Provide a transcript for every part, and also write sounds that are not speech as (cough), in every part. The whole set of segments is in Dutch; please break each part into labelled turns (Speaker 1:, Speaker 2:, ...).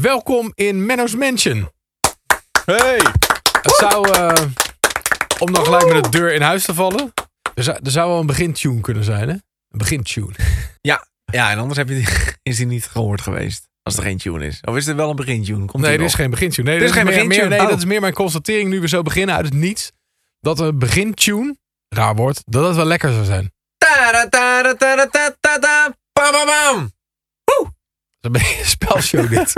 Speaker 1: Welkom in Menno's Mansion.
Speaker 2: Hey!
Speaker 1: Het zou, eh, om dan gelijk met de deur in huis te vallen, er zou, er zou wel een begintune kunnen zijn, hè? Een begintune.
Speaker 2: Ja, en anders heb je die, (laughs) is die niet gehoord geweest. Als er geen tune is. Of is er wel een begintune?
Speaker 1: Nee,
Speaker 2: Komt die
Speaker 1: er is
Speaker 2: nog?
Speaker 1: geen begintune. Nee,
Speaker 2: Er is
Speaker 1: dat
Speaker 2: geen
Speaker 1: meer-
Speaker 2: begintune.
Speaker 1: meer- nee,
Speaker 2: Oh.
Speaker 1: dat is meer mijn constatering nu we zo beginnen uit het niets. Dat een begintune, raar woord, dat dat wel lekker zou zijn.
Speaker 2: Tada, tada, tada, tada, tada, Bam, bam, bam.
Speaker 1: Dat is een beetje een spelshow dit.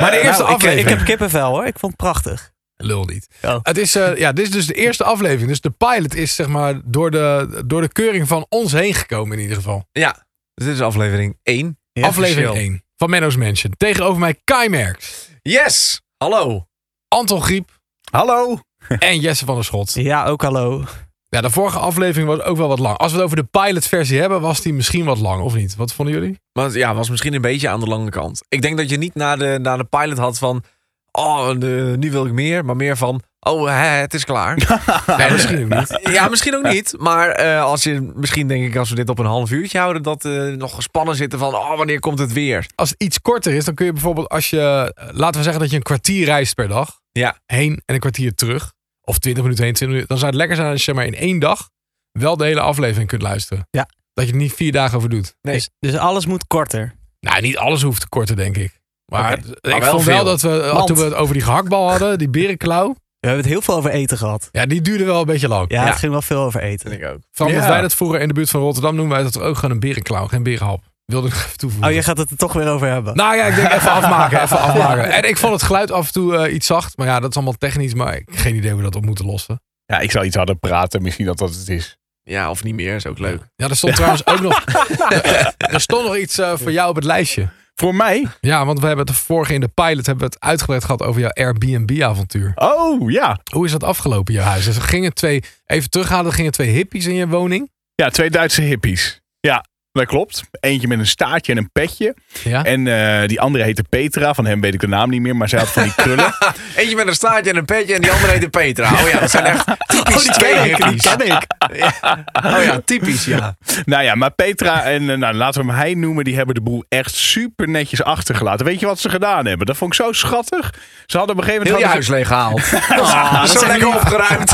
Speaker 1: maar de
Speaker 3: Nou,
Speaker 1: eerste
Speaker 3: ik-
Speaker 1: aflevering.
Speaker 3: Ik, heb kippenvel hoor. Ik vond het prachtig.
Speaker 1: Lul niet.
Speaker 3: Oh.
Speaker 1: Het is, eh, ja, dit is dus de eerste aflevering. Dus de pilot is zeg maar door de, door de keuring van ons heen gekomen in ieder geval.
Speaker 2: Ja, dus dit is aflevering 1.
Speaker 1: aflevering 1 van Menno's Mansion. Tegenover mij Kai Merks,
Speaker 2: Yes! Hallo.
Speaker 1: Anton Griep
Speaker 2: Hallo.
Speaker 1: en Jesse van der Schot.
Speaker 3: Ja, ook hallo.
Speaker 1: Ja, de vorige aflevering was ook wel wat lang. Als we het over de pilotversie hebben, was die misschien wat lang, of niet? Wat vonden jullie?
Speaker 2: Maar ja, was misschien een beetje aan de lange kant. Ik denk dat je niet naar de, naar de pilot had van... Oh, de- nu wil ik meer. Maar meer van... Oh, hè, het is (laughs) klaar.
Speaker 1: Nee, misschien ook niet.
Speaker 2: ja, misschien ook niet. Maar eh, als je, misschien denk ik als we dit op een half uurtje houden... dat eh, nog gespannen zitten van... Oh, wanneer komt het weer?
Speaker 1: Als het iets korter is, dan kun je bijvoorbeeld als je... eh, Laten we zeggen dat je een kwartier reist per dag.
Speaker 2: Ja.
Speaker 1: Heen en een kwartier terug. Of 20 minuten heen, 20 minuten. Dan zou het lekker zijn als je maar in één dag wel de hele aflevering kunt luisteren.
Speaker 3: Ja.
Speaker 1: Dat je er niet vier dagen over doet.
Speaker 2: Nee.
Speaker 3: Dus, dus alles moet korter.
Speaker 1: Nou, niet alles hoeft te korter, denk ik. Maar
Speaker 3: Oké.
Speaker 1: ik
Speaker 2: Maar wel
Speaker 1: vond wel
Speaker 2: veel.
Speaker 1: dat we, eh,
Speaker 3: Want-
Speaker 1: toen we het over die gehaktbal hadden, die berenklauw.
Speaker 3: We hebben het heel veel over eten gehad.
Speaker 1: Ja, die duurde wel een beetje lang.
Speaker 3: Ja,
Speaker 2: Ja.
Speaker 3: het ging wel veel over eten.
Speaker 2: ik ook.
Speaker 1: Van dat
Speaker 3: Ja.
Speaker 1: wij dat vroeger in de buurt van Rotterdam noemen wij dat toch ook gewoon een berenklauw, geen berenhap. Wilde ik nog even toevoegen.
Speaker 3: Oh, je gaat het er toch weer over hebben.
Speaker 1: Nou ja, ik denk
Speaker 3: (laughs)
Speaker 1: even afmaken, even afmaken. En ik vond het geluid af en toe eh, iets zacht. Maar ja, dat is allemaal technisch. Maar ik heb geen idee hoe we dat op moeten lossen.
Speaker 4: Ja, ik zou iets harder praten, misschien dat dat het is.
Speaker 2: Ja, of niet meer is ook leuk.
Speaker 1: Ja, er stond trouwens ook nog...
Speaker 3: (laughs)
Speaker 1: (laughs) er stond nog iets eh, voor jou op het lijstje.
Speaker 4: Voor mij?
Speaker 1: Ja, want we hebben het de vorige in de pilot hebben we het uitgebreid gehad over jouw Airbnb-avontuur.
Speaker 4: Oh, ja.
Speaker 1: Hoe is dat afgelopen, jouw huis? Dus er gingen twee, even terughalen, er gingen twee hippies in je woning.
Speaker 4: Ja, twee Duitse hippies. Ja, dat klopt. Eentje met een staartje en een petje.
Speaker 1: Ja.
Speaker 4: En eh, die andere heette Petra. Van hem weet ik de naam niet meer, maar zij had van die krullen.
Speaker 2: Eentje met een staartje en een petje en die andere heette Petra. Oh ja, dat zijn echt typisch twee hippies.
Speaker 1: ik. (laughs)
Speaker 2: Oh ja, typisch
Speaker 4: (laughs)
Speaker 2: ja.
Speaker 4: nou ja, maar Petra en eh, nou, laten we hem hij noemen, die hebben de boel echt super netjes achtergelaten. Weet je wat ze gedaan hebben? Dat vond ik zo schattig. Ze hadden op een gegeven
Speaker 2: Heel
Speaker 4: moment...
Speaker 2: je
Speaker 4: hadden
Speaker 2: huis
Speaker 4: ze-
Speaker 2: leeggehaald. zo lekker opgeruimd.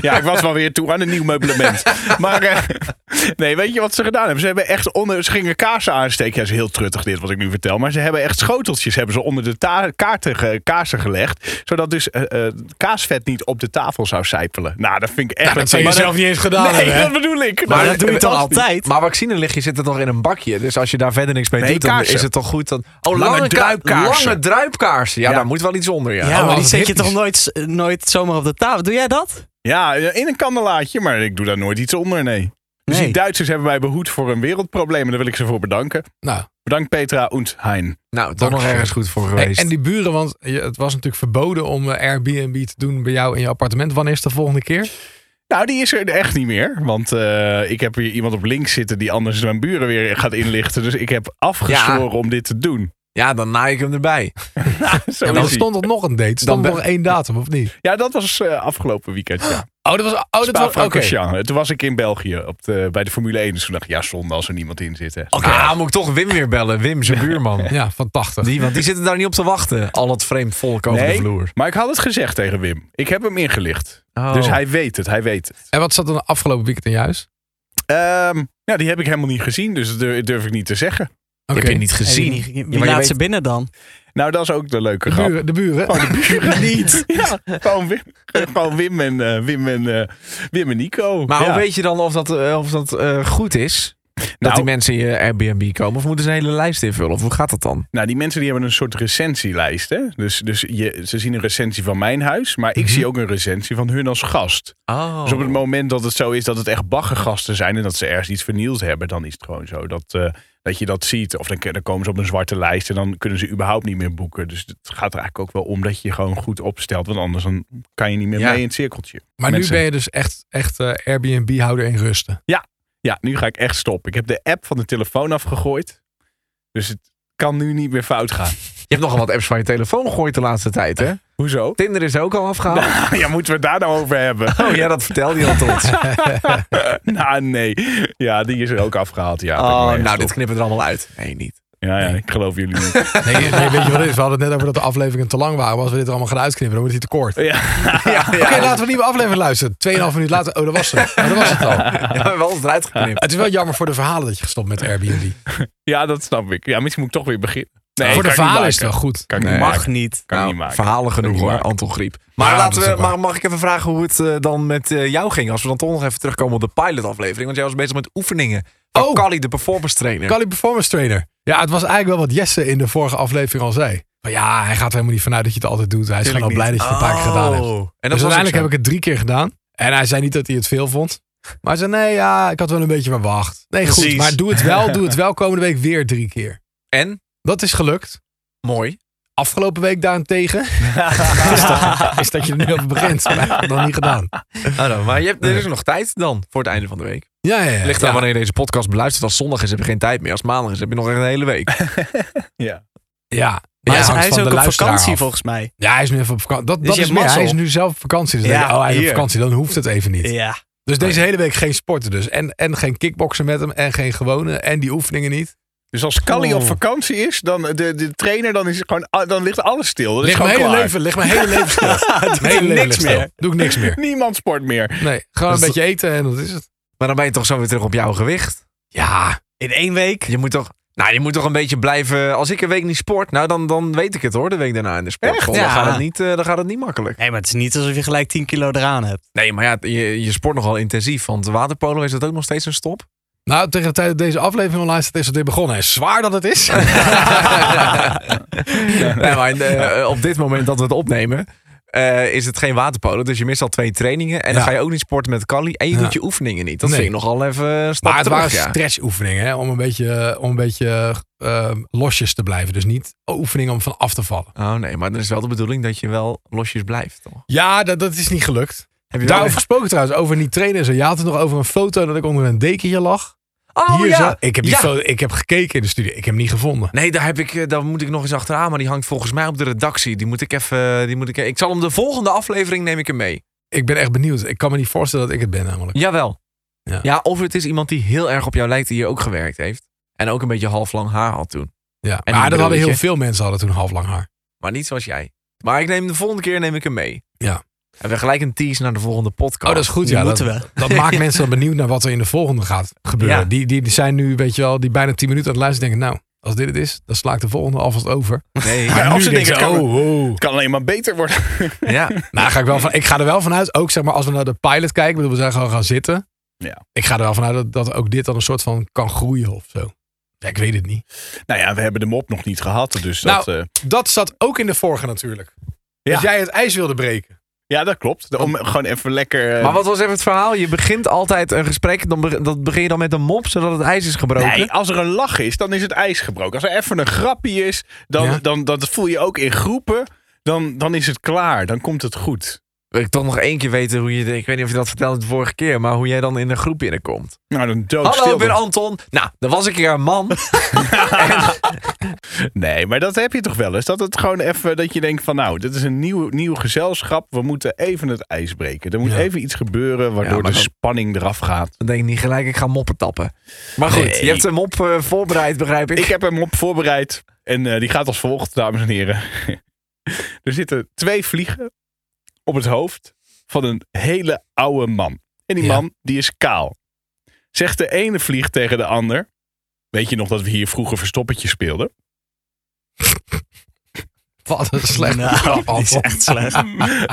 Speaker 4: Ja, ik was wel weer toe aan een nieuw meublement. Maar eh, nee, weet je wat ze gedaan hebben? Ze hebben echt onder, ze gingen kaarsen aansteken. Ja, dat is heel truttig dit wat ik nu vertel. Maar ze hebben echt schoteltjes hebben ze onder de ta- kaarten ge- kaarsen gelegd. Zodat dus eh, eh, kaasvet niet op de tafel zou sijpelen. Nou, dat vind ik echt...
Speaker 1: dat zou je
Speaker 4: maar
Speaker 1: zelf niet eens gedaan
Speaker 4: Nee,
Speaker 1: hebben, hè?
Speaker 4: (laughs) dat bedoel ik.
Speaker 3: maar
Speaker 4: Nou,
Speaker 3: dat doe je toch
Speaker 4: fantastisch.
Speaker 3: altijd?
Speaker 2: Maar vaccinelichtje zit er toch in een bakje. Dus als je daar verder niks mee
Speaker 4: Nee,
Speaker 2: doet, dan
Speaker 4: kaarsen.
Speaker 2: is het toch goed. Dan... Oh,
Speaker 4: Lange
Speaker 2: ka-
Speaker 4: druipkaarsen.
Speaker 2: Lange druipkaarsen. Ja,
Speaker 4: Ja.
Speaker 2: daar moet wel iets onder, ja. Oh,
Speaker 3: ja, maar die
Speaker 1: als
Speaker 3: zet je
Speaker 1: hippies.
Speaker 3: toch nooit, s- nooit zomaar op de tafel? Doe jij dat?
Speaker 4: Ja, eh, in een kandelaatje, maar ik doe daar nooit iets onder, nee. Dus
Speaker 3: Nee.
Speaker 4: die Duitsers hebben mij behoed voor een wereldprobleem. En daar wil ik ze voor bedanken.
Speaker 1: Nou,
Speaker 4: Bedankt Petra und Hein.
Speaker 2: Nou, toch nog
Speaker 1: Dank.
Speaker 2: ergens goed voor
Speaker 1: hey,
Speaker 2: geweest.
Speaker 1: en die buren, want je- het was natuurlijk verboden om eh, Airbnb te doen bij jou in je appartement. Wanneer is de volgende keer?
Speaker 4: Nou, die is er echt niet meer. Want eh, ik heb hier iemand op links zitten die anders mijn buren weer gaat inlichten. Dus ik heb afgezworen om dit te doen. (laughs)
Speaker 2: Ja, dan naai ik hem erbij.
Speaker 4: Zo
Speaker 1: En
Speaker 4: is
Speaker 1: dan
Speaker 4: ie.
Speaker 1: stond er nog een date. Stond er nog
Speaker 2: ben-
Speaker 1: één datum, of niet?
Speaker 4: Ja, dat was eh, afgelopen weekend. Ja.
Speaker 1: Oh, dat was... Oh, dat was... Oké.
Speaker 4: Spa-Francorchamps. Toen was ik in België op de, bij de Formule 1. Dus toen dacht ik, ja, zonde als er niemand in zit. hè. Nou,
Speaker 2: Oké, ah, moet ik toch Wim weer bellen. Wim, zijn buurman.
Speaker 1: Ja, van 80.
Speaker 2: Die, want die zitten daar niet op te wachten. Al dat vreemd volk over
Speaker 4: Nee.
Speaker 2: de vloer. Oh.
Speaker 4: Maar ik had het gezegd tegen Wim. Ik heb hem ingelicht.
Speaker 1: Oh.
Speaker 4: Dus hij weet het, hij weet het.
Speaker 1: En wat zat er afgelopen weekend in je huis?
Speaker 4: Ehm, ja, die heb ik helemaal niet gezien, dus dat durf- durf ik niet te zeggen.
Speaker 1: Oké.
Speaker 2: Heb je niet gezien.
Speaker 3: Wie, wie
Speaker 2: maar je
Speaker 3: laat
Speaker 2: weet-
Speaker 3: ze binnen dan?
Speaker 4: Nou, dat is ook de leuke
Speaker 1: De
Speaker 4: grap.
Speaker 1: buren, de buren.
Speaker 4: Gewoon de buren niet. (laughs) Ja, gewoon Wim, gewoon Wim, en, eh, Wim, en, eh, Wim en Nico.
Speaker 2: Maar
Speaker 4: ja.
Speaker 2: hoe weet je dan of dat, eh, of dat eh, goed is? Dat
Speaker 4: Nou.
Speaker 2: die mensen in je Airbnb komen? Of moeten ze een hele lijst invullen? Of hoe gaat dat dan?
Speaker 4: Nou, die mensen die hebben een soort recensielijst. Hè? Dus, dus je, ze zien een recensie van mijn huis, maar ik zie ook een recensie van hun als gast.
Speaker 2: Oh.
Speaker 4: Dus op het moment dat het zo is dat het echt baggergasten zijn en dat ze ergens iets vernield hebben, dan is het gewoon zo dat, eh, dat je dat ziet. Of dan, dan komen ze op een zwarte lijst en dan kunnen ze überhaupt niet meer boeken. Dus het gaat er eigenlijk ook wel om dat je je gewoon goed opstelt, want anders dan kan je niet meer
Speaker 2: Ja.
Speaker 4: mee in het cirkeltje.
Speaker 1: Maar nu
Speaker 4: Mensen.
Speaker 1: ben je dus echt, echt eh, Airbnb-houder in rusten.
Speaker 4: Ja, nu ga ik echt stoppen. Ik heb de app van de telefoon afgegooid, dus het kan nu niet meer fout (laughs) gaan.
Speaker 2: Je hebt nogal wat apps van je telefoon gegooid de laatste tijd, hè?
Speaker 4: Hoezo? (laughs)
Speaker 2: Tinder is ook al afgehaald.
Speaker 4: Ja, moeten we het daar nou over hebben?
Speaker 2: Oh ja, dat vertelde je (laughs) al ons.
Speaker 4: (laughs) nou, nee. Ja, die is er ook afgehaald. Ja,
Speaker 2: Oh, nou,
Speaker 4: dit... nou,
Speaker 2: dit knippen we er allemaal uit. Nee, niet.
Speaker 4: Ja, ja, ik geloof jullie (laughs) niet.
Speaker 1: (laughs) Nee, nee, weet je wat het is? We hadden het net over dat de afleveringen te lang waren. Maar Als we dit allemaal gaan uitknippen, dan wordt hij te kort. Oké,
Speaker 4: ja.
Speaker 1: laten we een nieuwe aflevering luisteren. Tweeënhalf minuut later. Oh, dat was het. Oh, dat was het al.
Speaker 2: (laughs) Ja, we hebben alles eruit geknipt.
Speaker 1: Het is wel jammer voor de verhalen dat je gestopt met Airbnb.
Speaker 4: ja, dat snap ik. Ja, misschien moet ik toch weer beginnen. Nee,
Speaker 1: voor de
Speaker 4: kan ik niet
Speaker 1: verhalen is het
Speaker 4: maken.
Speaker 1: wel goed.
Speaker 4: Kan ik
Speaker 2: Nee.
Speaker 4: niet maken.
Speaker 3: Mag niet.
Speaker 4: Kan ik
Speaker 2: Nou,
Speaker 4: niet maken.
Speaker 2: verhalen genoeg
Speaker 4: Kan ik niet
Speaker 2: hoor,
Speaker 4: maken.
Speaker 2: Anton Griep. Maar,
Speaker 1: Ja,
Speaker 2: laten
Speaker 1: dat is
Speaker 2: we,
Speaker 1: ook waar.
Speaker 2: maar mag ik even vragen hoe het eh, dan met eh, jou ging? Als we dan toch nog even terugkomen op de pilotaflevering. Want jij was bezig met oefeningen. Van
Speaker 1: Oh.
Speaker 2: Carly, de performance trainer.
Speaker 1: Kali Performance Trainer. Ja, het was eigenlijk wel wat Jesse in de vorige aflevering al zei. Van ja, hij gaat er helemaal niet vanuit dat je het altijd doet. Hij is
Speaker 3: Tuurlijk
Speaker 1: gewoon al blij dat je het een paar keer gedaan hebt.
Speaker 2: Oh. En dat
Speaker 1: Dus
Speaker 2: was
Speaker 1: uiteindelijk heb ik het drie keer gedaan. En hij zei niet dat hij het veel vond. Maar hij zei, nee, ja, ik had wel een beetje verwacht. Nee, goed,
Speaker 3: Precies.
Speaker 1: maar doe het wel. Doe het wel komende week weer drie keer.
Speaker 2: En?
Speaker 1: Dat is gelukt.
Speaker 2: Mooi.
Speaker 1: Afgelopen week
Speaker 3: (laughs)
Speaker 1: daarentegen is, dat, is dat je er nu over begint. Maar ik heb het nog niet gedaan.
Speaker 2: Ah, nou, maar je hebt, er is nog tijd dan voor het einde van de week.
Speaker 1: Ja, ja, ja.
Speaker 2: Ligt aan
Speaker 1: Ja.
Speaker 2: wanneer je deze podcast beluistert. Als zondag is heb je geen tijd meer. Als maandag is heb je nog echt een hele week.
Speaker 4: Ja.
Speaker 1: Ja. Maar
Speaker 3: Maar hij
Speaker 1: het
Speaker 3: is,
Speaker 1: hangt
Speaker 3: hij is
Speaker 1: van
Speaker 3: ook
Speaker 1: de
Speaker 3: op
Speaker 1: luisteraar
Speaker 3: vakantie
Speaker 1: af.
Speaker 3: volgens mij.
Speaker 1: Ja, hij is nu even op vakantie. Dat,
Speaker 3: Dus
Speaker 1: dat
Speaker 3: je
Speaker 1: is
Speaker 3: hebt
Speaker 1: meer. Hij
Speaker 3: mazzel.
Speaker 1: is nu zelf op vakantie. Dus
Speaker 3: Ja,
Speaker 1: denk je, oh, hij is
Speaker 3: hier.
Speaker 1: op vakantie. Dan hoeft het even niet.
Speaker 3: Ja.
Speaker 1: Dus deze hele week geen sporten dus. En, en geen kickboksen met hem. En geen gewone. En die oefeningen niet.
Speaker 4: Dus als Callie op
Speaker 3: Oh.
Speaker 4: vakantie is, dan eh, de, de trainer, dan, is het gewoon, ah, dan ligt alles stil. Dat is
Speaker 1: Ligt mijn
Speaker 4: gewoon
Speaker 1: hele
Speaker 4: klaar.
Speaker 1: leven, ligt mijn hele
Speaker 3: (laughs)
Speaker 1: leven stil. Mijn hele
Speaker 3: niks
Speaker 1: leven ligt stil.
Speaker 3: meer.
Speaker 1: Doe ik niks meer.
Speaker 4: Niemand sport meer.
Speaker 1: Nee, gewoon een
Speaker 2: Dat is-
Speaker 1: beetje eten en dat is het.
Speaker 2: Maar dan ben je toch zo weer terug op jouw gewicht.
Speaker 1: Ja,
Speaker 3: In één week.
Speaker 2: Je moet toch, nou, je moet toch een beetje blijven. Als ik een week niet sport, nou dan, dan weet ik het hoor. De week daarna in de sport.
Speaker 4: Echt?
Speaker 2: Dan,
Speaker 3: Ja.
Speaker 2: gaat het niet, eh, dan gaat het niet makkelijk.
Speaker 3: Nee, maar het is niet alsof je gelijk 10 kilo eraan hebt.
Speaker 2: Nee, maar ja, je, je sport nogal intensief. Want waterpolo is dat ook nog steeds een stop.
Speaker 1: nou tegen de tijd dat deze aflevering online staat is het weer begonnen. En zwaar dat het is.
Speaker 3: (laughs)
Speaker 2: Nee, maar eh, op dit moment dat we het opnemen. eh, is het geen waterpolo, dus je mist al twee trainingen. En dan
Speaker 1: Ja.
Speaker 2: ga je ook niet sporten met Kali. En je
Speaker 1: Ja.
Speaker 2: doet je oefeningen niet. Dat
Speaker 1: Nee.
Speaker 2: vind ik nogal even een stap
Speaker 1: Maar het
Speaker 2: terug,
Speaker 1: waren
Speaker 2: ja.
Speaker 1: stretchoefeningen hè, om een beetje, om een beetje eh, losjes te blijven. Dus niet oefeningen om van af te vallen.
Speaker 2: Oh nee, maar dan is wel de bedoeling dat je wel losjes blijft, toch?
Speaker 1: Ja, dat, dat is niet gelukt.
Speaker 2: Heb je wel-
Speaker 1: Daarover gesproken trouwens, over niet trainen en zo. Je had het nog over een foto dat ik onder een dekentje lag.
Speaker 2: Oh
Speaker 1: Hier
Speaker 2: ja!
Speaker 1: zo. Ik heb, die
Speaker 2: Ja.
Speaker 1: foto, ik heb gekeken in de studio, ik heb hem niet gevonden.
Speaker 2: Nee, daar, heb ik, eh, daar moet ik nog eens achteraan. Maar die hangt volgens mij op de redactie. Die moet ik even... eh, Die moet ik, ik zal hem de volgende aflevering neem ik hem mee.
Speaker 1: Ik ben echt benieuwd. Ik kan me niet voorstellen dat ik het ben namelijk.
Speaker 2: Jawel. Ja.
Speaker 1: Ja.
Speaker 2: of het is iemand die heel erg op jou lijkt die hier ook gewerkt heeft. En ook een beetje half lang haar had toen.
Speaker 1: Ja.
Speaker 2: een
Speaker 1: Maar dat hadden heel
Speaker 2: brilletje.
Speaker 1: veel mensen hadden toen half lang haar.
Speaker 2: Maar niet zoals jij. Maar ik neem de volgende keer neem ik hem mee.
Speaker 1: Ja.
Speaker 2: En we gelijk een tease naar de volgende podcast.
Speaker 1: Oh, dat is goed.
Speaker 3: Die
Speaker 1: Ja, dat,
Speaker 3: moeten we.
Speaker 1: dat (laughs) maakt mensen dan benieuwd naar wat er in de volgende gaat gebeuren.
Speaker 2: Ja.
Speaker 1: Die, die, die zijn nu, weet je wel, die bijna 10 minuten aan het luisteren denken, nou, als dit het is, dan sla ik de volgende alvast over.
Speaker 2: Nee.
Speaker 4: Ja,
Speaker 1: Maar
Speaker 4: als
Speaker 1: nu
Speaker 4: ze
Speaker 1: denken ze,
Speaker 4: denken,
Speaker 1: oh, oh.
Speaker 4: Het kan alleen maar beter worden.
Speaker 2: ja.
Speaker 1: Nou, ga ik, wel van, ik ga er wel vanuit, ook zeg maar als we naar de pilot kijken, ik bedoel, we zijn gewoon gaan zitten.
Speaker 4: Ja.
Speaker 1: Ik ga er wel vanuit dat, dat ook dit dan een soort van kan groeien of zo. Ja, ik weet het niet.
Speaker 4: Nou ja, we hebben de mop nog niet gehad. Dus dat, eh,
Speaker 1: Dat zat ook in de vorige natuurlijk.
Speaker 4: Ja.
Speaker 1: Dat jij het ijs wilde breken.
Speaker 4: ja, dat klopt. Om gewoon even lekker... eh,
Speaker 2: Maar wat was even het verhaal? Je begint altijd een gesprek. Dan be- dat begin je dan met een mop zodat het ijs is gebroken.
Speaker 4: Nee, als er een lach is, dan is het ijs gebroken. Als er even een grapje is, dan,
Speaker 1: Ja.
Speaker 4: dan dat voel je ook in groepen. Dan, dan is het klaar. Dan komt het goed.
Speaker 2: Wil ik toch nog één keer weten hoe je. Ik weet niet of je dat vertelde de vorige keer, maar hoe jij dan in een groep binnenkomt.
Speaker 4: Nou, dan
Speaker 2: Hallo,
Speaker 4: doodstil.
Speaker 2: ik ben Anton. Nou, er was een keer een man.
Speaker 4: Nee, maar dat heb je toch wel eens? Dat het gewoon even, dat je denkt van nou, dit is een nieuw, nieuw gezelschap. We moeten even het ijs breken. Er moet
Speaker 1: Ja.
Speaker 4: even iets gebeuren waardoor
Speaker 2: maar
Speaker 4: de
Speaker 2: dat-
Speaker 4: spanning eraf gaat.
Speaker 2: Dan denk ik niet gelijk, ik ga moppen tappen. Maar goed,
Speaker 4: Nee.
Speaker 2: je hebt hem op eh, voorbereid, begrijp ik. (laughs)
Speaker 4: Ik heb hem op voorbereid en eh, die gaat als volgt, dames en heren. (laughs) er zitten twee vliegen op het hoofd van een hele oude man. En die
Speaker 1: Ja.
Speaker 4: man, die is kaal. Zegt de ene vlieg tegen de ander. Weet je nog dat we hier vroeger verstoppertje speelden?
Speaker 1: Wat een slecht Oh. (laughs)
Speaker 3: Nou,
Speaker 1: grap,
Speaker 3: dat is
Speaker 1: Anton.
Speaker 3: echt slecht.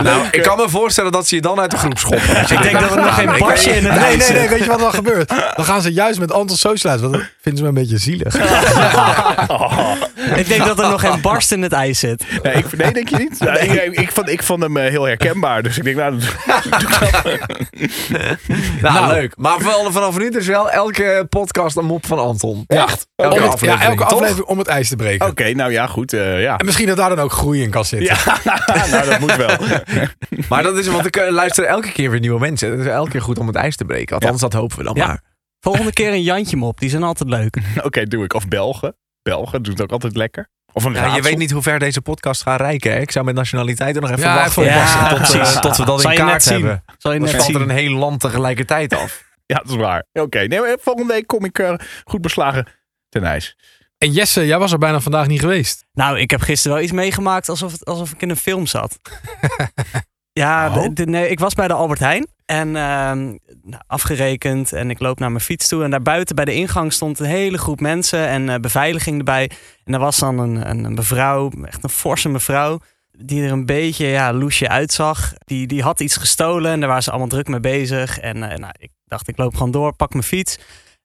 Speaker 2: nou, ik kan me voorstellen dat ze je dan uit de groep schoppen. Nou,
Speaker 3: Ik denk dat we nog geen pasje in het
Speaker 1: Nee, nee,
Speaker 3: ijs
Speaker 1: nee,
Speaker 3: hebben.
Speaker 1: weet je wat er dan gebeurt? Dan gaan ze juist met Anton Socialize, want dat vinden ze me een beetje zielig.
Speaker 4: Oh.
Speaker 3: Ik denk dat er nog geen barst in het ijs zit.
Speaker 4: (laughs) Nee, ik, nee, denk je niet? Nou, ik, ik, vond, ik vond hem eh, heel herkenbaar. Dus ik denk, nou, (laughs) dat-
Speaker 2: Nou,
Speaker 1: Nou.
Speaker 2: leuk. Maar vanaf, vanaf nu dus wel elke podcast een mop van Anton.
Speaker 1: Echt?
Speaker 2: Elke
Speaker 1: Om het-
Speaker 2: aflevering,
Speaker 1: ja, elke
Speaker 2: toch?
Speaker 1: aflevering om het ijs te breken.
Speaker 4: oké, nou ja, goed. eh, ja.
Speaker 1: En misschien dat daar dan ook groei in kan zitten.
Speaker 4: (laughs) ja, nou dat moet wel. (laughs)
Speaker 2: Maar dat is, want ik eh, luister elke keer weer nieuwe mensen. Het is elke keer goed om het ijs te breken. Althans, dat hopen we dan
Speaker 3: Ja.
Speaker 2: maar.
Speaker 3: Volgende keer een Jantje mop, die zijn altijd leuk.
Speaker 4: Oké, doe ik. Of Belgen. Belgen doet het ook altijd lekker. Of een
Speaker 2: Ja,
Speaker 4: raadsel.
Speaker 2: je weet niet hoe ver deze podcast gaat reiken. hè? Ik zou met nationaliteiten nog even
Speaker 1: Ja,
Speaker 2: wachten.
Speaker 1: even
Speaker 2: Tot,
Speaker 3: wachten.
Speaker 2: eh,
Speaker 3: precies.
Speaker 2: tot we dat
Speaker 3: Zal
Speaker 2: in
Speaker 3: je net
Speaker 2: kaart
Speaker 3: zien.
Speaker 2: hebben.
Speaker 3: Zal je
Speaker 2: Dan
Speaker 3: net
Speaker 2: valt er
Speaker 3: zien.
Speaker 2: een heel land
Speaker 1: (laughs)
Speaker 2: tegelijkertijd af.
Speaker 4: Ja, dat is waar. Oké, nee, maar volgende week kom ik eh, goed beslagen ten ijs.
Speaker 1: En Jesse, jij was er bijna vandaag niet geweest.
Speaker 3: Nou, ik heb gisteren wel iets meegemaakt alsof, het- alsof ik in een film zat. ja,
Speaker 4: Oh.
Speaker 3: de- de- nee, ik was bij de Albert Heijn en ehm, nou, afgerekend en ik loop naar mijn fiets toe. En daarbuiten bij de ingang stond een hele groep mensen en eh, beveiliging erbij. En er was dan een, een, een mevrouw, echt een forse mevrouw, die er een beetje ja, loesje uitzag. Die, die had iets gestolen en daar waren ze allemaal druk mee bezig. En eh, nou, ik dacht, ik loop gewoon door, pak mijn fiets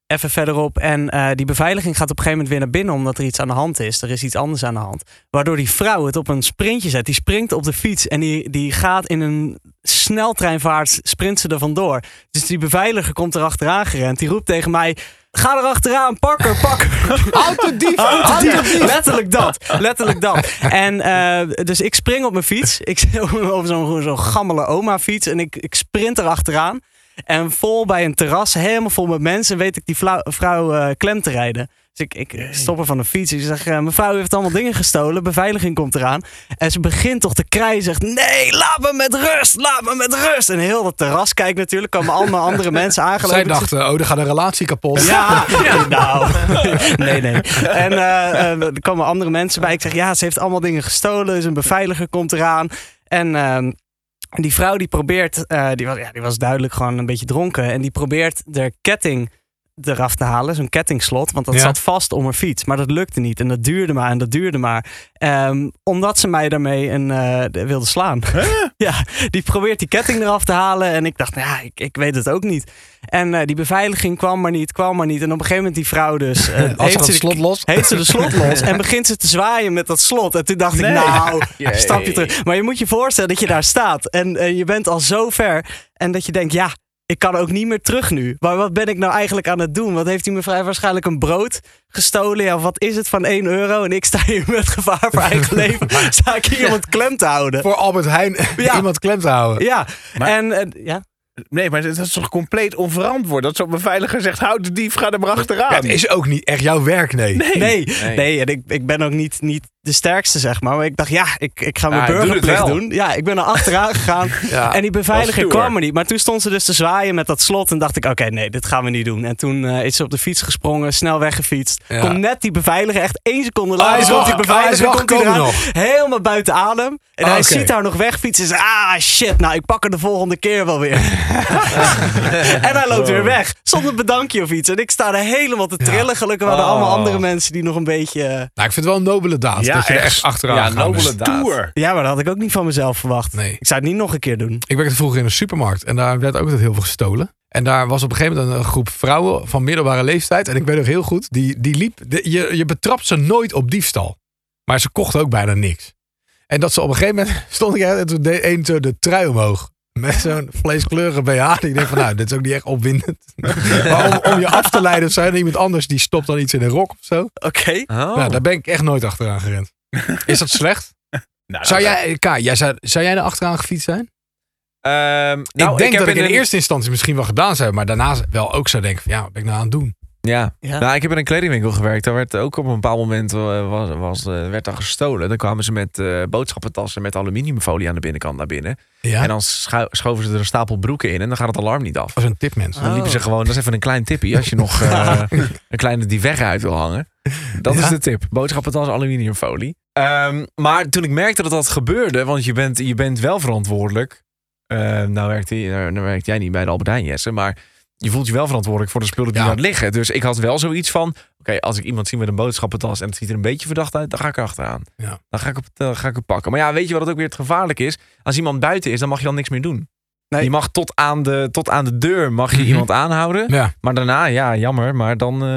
Speaker 3: even verderop. En eh, die beveiliging gaat op een gegeven moment weer naar binnen omdat er iets aan de hand is. Er is iets anders aan de hand. Waardoor die vrouw het op een sprintje zet. Die springt op de fiets en die, die gaat in een sneltreinvaart sprint ze er vandoor. Dus die beveiliger komt er achteraan gerend. Die roept tegen mij... Ga er achteraan, pak haar, pak haar. (laughs) Autodief, autodief. Letterlijk dat, letterlijk dat. En eh, dus ik spring op mijn fiets. Ik (laughs) zit op zo'n zo'n gammele oma fiets. En ik, ik sprint er achteraan. En vol bij een terras, helemaal vol met mensen, weet ik die vlau- vrouw eh, klem te rijden. Dus ik, ik stop er van de fiets. Ik zeg, eh, mevrouw heeft allemaal dingen gestolen. Beveiliging komt eraan. En ze begint toch te krijgen. Zegt, nee, laat me met rust. Laat me met rust. En heel dat terras kijkt natuurlijk. Komen allemaal (laughs) andere mensen aangelopen.
Speaker 1: Zij
Speaker 3: Ik zeg,
Speaker 1: dachten, oh, er gaat een relatie kapot.
Speaker 3: ja, nou. (laughs) Nee, nee. En eh, eh, er komen andere mensen bij. Ik zeg, ja, ze heeft allemaal dingen gestolen. Dus een beveiliger komt eraan. En ehm, die vrouw die probeert, eh, die, was, ja, die was duidelijk gewoon een beetje dronken. En die probeert de ketting eraf te halen, zo'n kettingslot. Want dat
Speaker 1: Ja.
Speaker 3: zat vast om haar fiets. Maar dat lukte niet. En dat duurde maar en dat duurde maar. Ehm, omdat ze mij daarmee een, eh, wilde slaan. (laughs) ja, die probeert die ketting eraf te halen. En ik dacht, nou ja, ik, ik weet het ook niet. En eh, die beveiliging kwam maar niet, kwam maar niet. En op een gegeven moment die vrouw dus... eh,
Speaker 1: (laughs) Als ze
Speaker 3: heeft
Speaker 1: dat
Speaker 3: ze de-
Speaker 1: slot los.
Speaker 3: heeft
Speaker 4: (laughs)
Speaker 3: ze de slot los en begint ze te zwaaien met dat slot. En toen dacht
Speaker 4: Nee.
Speaker 3: ik,
Speaker 4: (laughs)
Speaker 3: nou,
Speaker 2: Jee.
Speaker 3: stap je terug. Maar je moet je voorstellen dat je daar staat en eh, je bent al zo ver. En dat je denkt, ja, ik kan ook niet meer terug nu. Maar wat ben ik nou eigenlijk aan het doen? Wat heeft die mevrouw waarschijnlijk een brood gestolen? Ja, wat is het van 1 euro? En ik sta hier met gevaar voor
Speaker 4: (laughs)
Speaker 3: eigen leven. Sta ik hier iemand klem te houden?
Speaker 1: Voor Albert Heijn (laughs)
Speaker 3: Ja.
Speaker 1: iemand klem te houden.
Speaker 3: Ja,
Speaker 4: Maar-
Speaker 3: en eh, ja.
Speaker 4: Nee, maar dat is toch compleet onverantwoord? Dat zo'n beveiliger zegt, houd de dief, ga er maar achteraan.
Speaker 1: het is ook niet echt jouw werk, nee.
Speaker 3: Nee,
Speaker 2: Nee.
Speaker 3: nee. en ik, ik ben ook niet, niet de sterkste, zeg maar. Maar ik dacht, ja, ik, ik ga mijn
Speaker 2: Ja, doe het
Speaker 3: burgerplicht
Speaker 2: wel.
Speaker 3: doen. Ja, ik ben er
Speaker 1: (laughs)
Speaker 3: achteraan gegaan.
Speaker 1: Ja,
Speaker 3: en die
Speaker 4: dat is
Speaker 3: beveiliger
Speaker 4: stoer.
Speaker 3: kwam er niet. Maar toen stond ze dus te zwaaien met dat slot. En dacht ik, oké, nee, dit gaan we niet doen. En toen eh, is ze op de fiets gesprongen, snel weggefietst.
Speaker 1: Ja.
Speaker 3: Komt net die beveiliger, echt één seconde later.
Speaker 1: hij is wel-
Speaker 3: komt die
Speaker 1: oh, hij is
Speaker 3: beveiliger,
Speaker 1: wel
Speaker 3: komt hij
Speaker 1: gekomen
Speaker 3: eraan. Helemaal buiten adem. En
Speaker 1: Ah,
Speaker 3: hij
Speaker 1: oké.
Speaker 3: ziet haar nog wegfietsen. En zegt, ah, shit, nou, ik pak er de volgende keer wel
Speaker 1: (laughs)
Speaker 3: weer. En hij loopt
Speaker 1: Oh.
Speaker 3: weer weg. Zonder bedankje of iets. En ik sta er helemaal te trillen. Gelukkig waren er allemaal
Speaker 2: Oh.
Speaker 3: andere mensen die nog een beetje... eh,
Speaker 1: Nou, ik vind het wel een nobele daad
Speaker 4: Ja,
Speaker 1: dat je er
Speaker 4: echt.
Speaker 1: echt achteraan
Speaker 2: Ja,
Speaker 1: gaat.
Speaker 2: nobele daad.
Speaker 4: Toer.
Speaker 3: Ja, maar dat had ik ook niet van mezelf verwacht.
Speaker 1: Nee.
Speaker 3: Ik zou het niet nog een keer doen.
Speaker 1: Ik werkte vroeger in een supermarkt en daar werd ook altijd heel veel gestolen. En daar was op een gegeven moment een groep vrouwen van middelbare leeftijd. En ik weet nog heel goed, die, die liep. de- je, je betrapt ze nooit op diefstal. Maar ze kochten ook bijna niks. En dat ze op een gegeven moment (laughs) stond ik en toen deed één zo de trui omhoog. Met zo'n vleeskleurige BH. Die denk van nou, dit is ook niet echt opwindend. maar om, om je af te leiden of zo. En iemand anders die stopt dan iets in een rok of zo.
Speaker 3: Oké.
Speaker 2: Oh.
Speaker 1: Nou, daar ben ik echt nooit achteraan gerend. Is dat slecht?
Speaker 4: Nou,
Speaker 1: Zou
Speaker 4: dat-
Speaker 1: jij, K, jij zou, zou jij er achteraan gefietst zijn?
Speaker 2: Ehm, nou,
Speaker 1: ik denk
Speaker 2: heb
Speaker 1: dat ik in
Speaker 2: een-
Speaker 1: de eerste instantie misschien wel gedaan zou hebben, maar daarna wel ook zou denken van ja, wat ben ik nou aan het doen?
Speaker 2: Ja.
Speaker 3: Ja.
Speaker 2: Nou, ik heb in een kledingwinkel gewerkt. Daar werd ook op een bepaald moment eh, was, was, eh, werd daar gestolen. Dan kwamen ze met eh, boodschappentassen met aluminiumfolie aan de binnenkant naar binnen.
Speaker 1: Ja.
Speaker 2: En dan schu- schoven ze er een stapel broeken in en dan gaat het alarm niet af.
Speaker 1: was een Nou, tip, mensen.
Speaker 2: Dan liepen
Speaker 3: Oh.
Speaker 2: ze gewoon, dat is even een klein tipje als je
Speaker 1: (laughs)
Speaker 2: nog eh, een kleine die weg uit wil hangen. Dat is
Speaker 1: Ja.
Speaker 2: de tip. Boodschappentas aluminiumfolie. Ehm, maar toen ik merkte dat dat gebeurde, want je bent, je bent wel verantwoordelijk. Ehm, nou, werkte, nou, nou werkt jij niet bij de Albert Heijn, Jesse, maar je voelt je wel verantwoordelijk voor de spullen die
Speaker 1: Ja.
Speaker 2: daar liggen. Dus ik had wel zoiets van, oké, als ik iemand zie met een boodschappentas en het ziet er een beetje verdacht uit, dan ga ik er achteraan.
Speaker 1: Ja.
Speaker 2: Dan ga ik, op, dan ga ik het pakken. Maar ja, weet je wat het ook weer het gevaarlijk is? Als iemand buiten is, dan mag je dan niks meer doen.
Speaker 3: Nee.
Speaker 2: Je mag tot aan de, tot aan de deur mag je
Speaker 1: Mhm.
Speaker 2: iemand aanhouden.
Speaker 1: Ja,
Speaker 2: Maar daarna, ja, jammer. Maar dan. eh,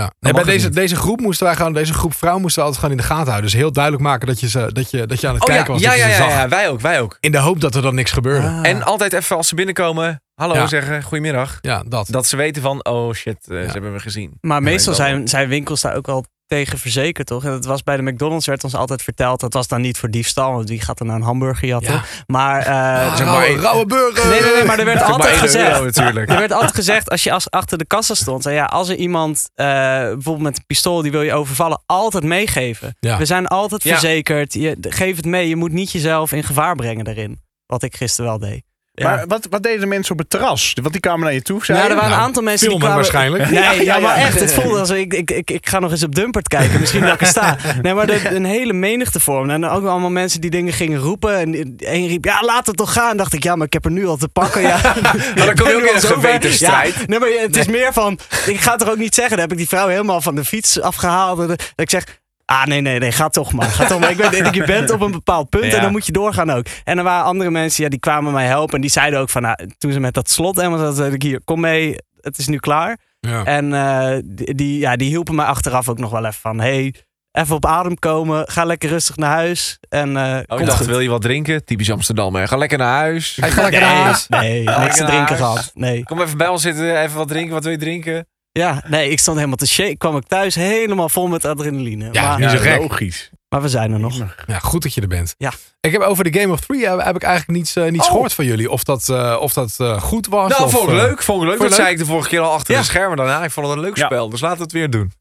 Speaker 1: ja.
Speaker 2: mag
Speaker 1: En bij
Speaker 2: het
Speaker 1: deze,
Speaker 2: niet.
Speaker 1: deze groep moesten wij gewoon, deze groep vrouwen moesten we altijd gewoon in de gaten houden. Dus heel duidelijk maken dat je, ze, dat je, dat je aan het kijken was.
Speaker 2: Oh ja,
Speaker 1: dat je
Speaker 2: ja,
Speaker 1: ze
Speaker 2: ja,
Speaker 1: zag.
Speaker 2: ja, wij ook, wij ook.
Speaker 1: In de hoop dat er dan niks gebeurde.
Speaker 3: Ah.
Speaker 2: En altijd even als ze binnenkomen, hallo
Speaker 1: Ja.
Speaker 2: zeggen, goedemiddag.
Speaker 1: Ja, dat.
Speaker 2: Dat ze weten van, oh shit, eh,
Speaker 1: Ja.
Speaker 2: ze hebben me gezien.
Speaker 3: maar meestal
Speaker 2: Nee, wel.
Speaker 3: zijn, zijn winkels daar ook wel tegen verzekerd, toch? En dat was bij de McDonald's, werd ons altijd verteld. Dat was dan niet voor diefstal, want wie gaat er nou een hamburger jatten?
Speaker 1: Ja.
Speaker 3: Maar, eh, (laughs)
Speaker 1: Ah,
Speaker 2: zeg maar
Speaker 1: rauwe,
Speaker 2: één-
Speaker 1: rauwe burger!
Speaker 3: nee, nee, nee, maar er
Speaker 2: Natuurlijk
Speaker 3: werd
Speaker 2: maar
Speaker 3: altijd
Speaker 2: één
Speaker 3: gezegd...
Speaker 2: euro
Speaker 3: (laughs)
Speaker 2: natuurlijk.
Speaker 3: Er werd altijd gezegd, als je als achter de kassa stond, zei, ja, als er iemand eh, bijvoorbeeld met een pistool die wil je overvallen, altijd meegeven.
Speaker 1: Ja.
Speaker 3: We zijn altijd
Speaker 2: Ja.
Speaker 3: verzekerd. Je, de- geef het mee. Je moet niet jezelf in gevaar brengen daarin. Wat ik gisteren wel deed. Ja.
Speaker 4: Maar wat, wat deden mensen op het terras? Want die kwamen naar je toe. Zei
Speaker 3: Nou,
Speaker 4: je?
Speaker 3: er waren een
Speaker 1: Nou,
Speaker 3: aantal mensen die
Speaker 1: filmen
Speaker 3: kwamen...
Speaker 1: waarschijnlijk.
Speaker 3: Nee, ja,
Speaker 4: ja,
Speaker 3: maar
Speaker 4: ja.
Speaker 3: echt. Het voelde als ik, ik, ik, ik ga nog eens op Dumpert kijken. Misschien dat ik er
Speaker 4: (laughs)
Speaker 3: sta. Nee, maar er- een hele menigte vorm. En ook allemaal mensen die dingen gingen roepen. En één riep, ja, laat het toch gaan. En dacht ik, ja, maar ik heb er nu al te pakken. Ja,
Speaker 2: Maar dan kom je ook in een
Speaker 3: strijd.
Speaker 2: gewetensstrijd.
Speaker 3: Ja, (laughs) nee, maar het is meer van, ik ga het er ook niet zeggen. Dan heb ik die vrouw helemaal van de fiets afgehaald. En dat ik zeg, ah nee, nee, nee, ga toch maar. Ga toch maar. Ik weet, je bent op een bepaald punt
Speaker 2: Ja.
Speaker 3: en dan moet je doorgaan ook. En er waren andere mensen, ja, die kwamen mij helpen. En die zeiden ook van, nou, toen ze met dat slot helemaal zaten, zei ik hier, kom mee, het is nu klaar.
Speaker 1: Ja.
Speaker 3: En eh, die, die- ja, die hielpen mij achteraf ook nog wel even van, hey, even op adem komen, ga lekker rustig naar huis. En eh
Speaker 2: Oh, ik
Speaker 3: komt
Speaker 2: dacht,
Speaker 3: goed.
Speaker 2: wil je wat drinken? Typisch Amsterdam, hè. Ga lekker naar huis.
Speaker 1: Hij gaat lekker
Speaker 3: Nee,
Speaker 1: naar huis.
Speaker 3: nee, niks te
Speaker 2: naar
Speaker 3: drinken
Speaker 2: huis.
Speaker 3: gehad. Nee.
Speaker 2: Kom even bij ons zitten, even wat drinken. Wat wil je drinken?
Speaker 3: Ja, nee, ik stond helemaal te shaken. Kwam ik thuis helemaal vol met adrenaline.
Speaker 1: Ja,
Speaker 3: maar,
Speaker 1: niet zo gek.
Speaker 4: logisch.
Speaker 3: maar we zijn er nog.
Speaker 1: Ja, goed dat je er bent.
Speaker 3: Ja.
Speaker 1: Ik heb over de Game of Three heb, heb ik eigenlijk niets, eh, niets
Speaker 2: Oh.
Speaker 1: gehoord van jullie. Of dat, eh, of dat eh, goed was.
Speaker 2: Nou,
Speaker 1: of,
Speaker 2: vond ik
Speaker 1: eh,
Speaker 2: leuk. Vond ik leuk.
Speaker 1: vond
Speaker 2: Dat
Speaker 1: je
Speaker 2: zei ik de vorige keer al achter
Speaker 1: Ja.
Speaker 2: de schermen daarna. Ik vond het een leuk
Speaker 4: Ja.
Speaker 2: spel, dus laten we het weer doen.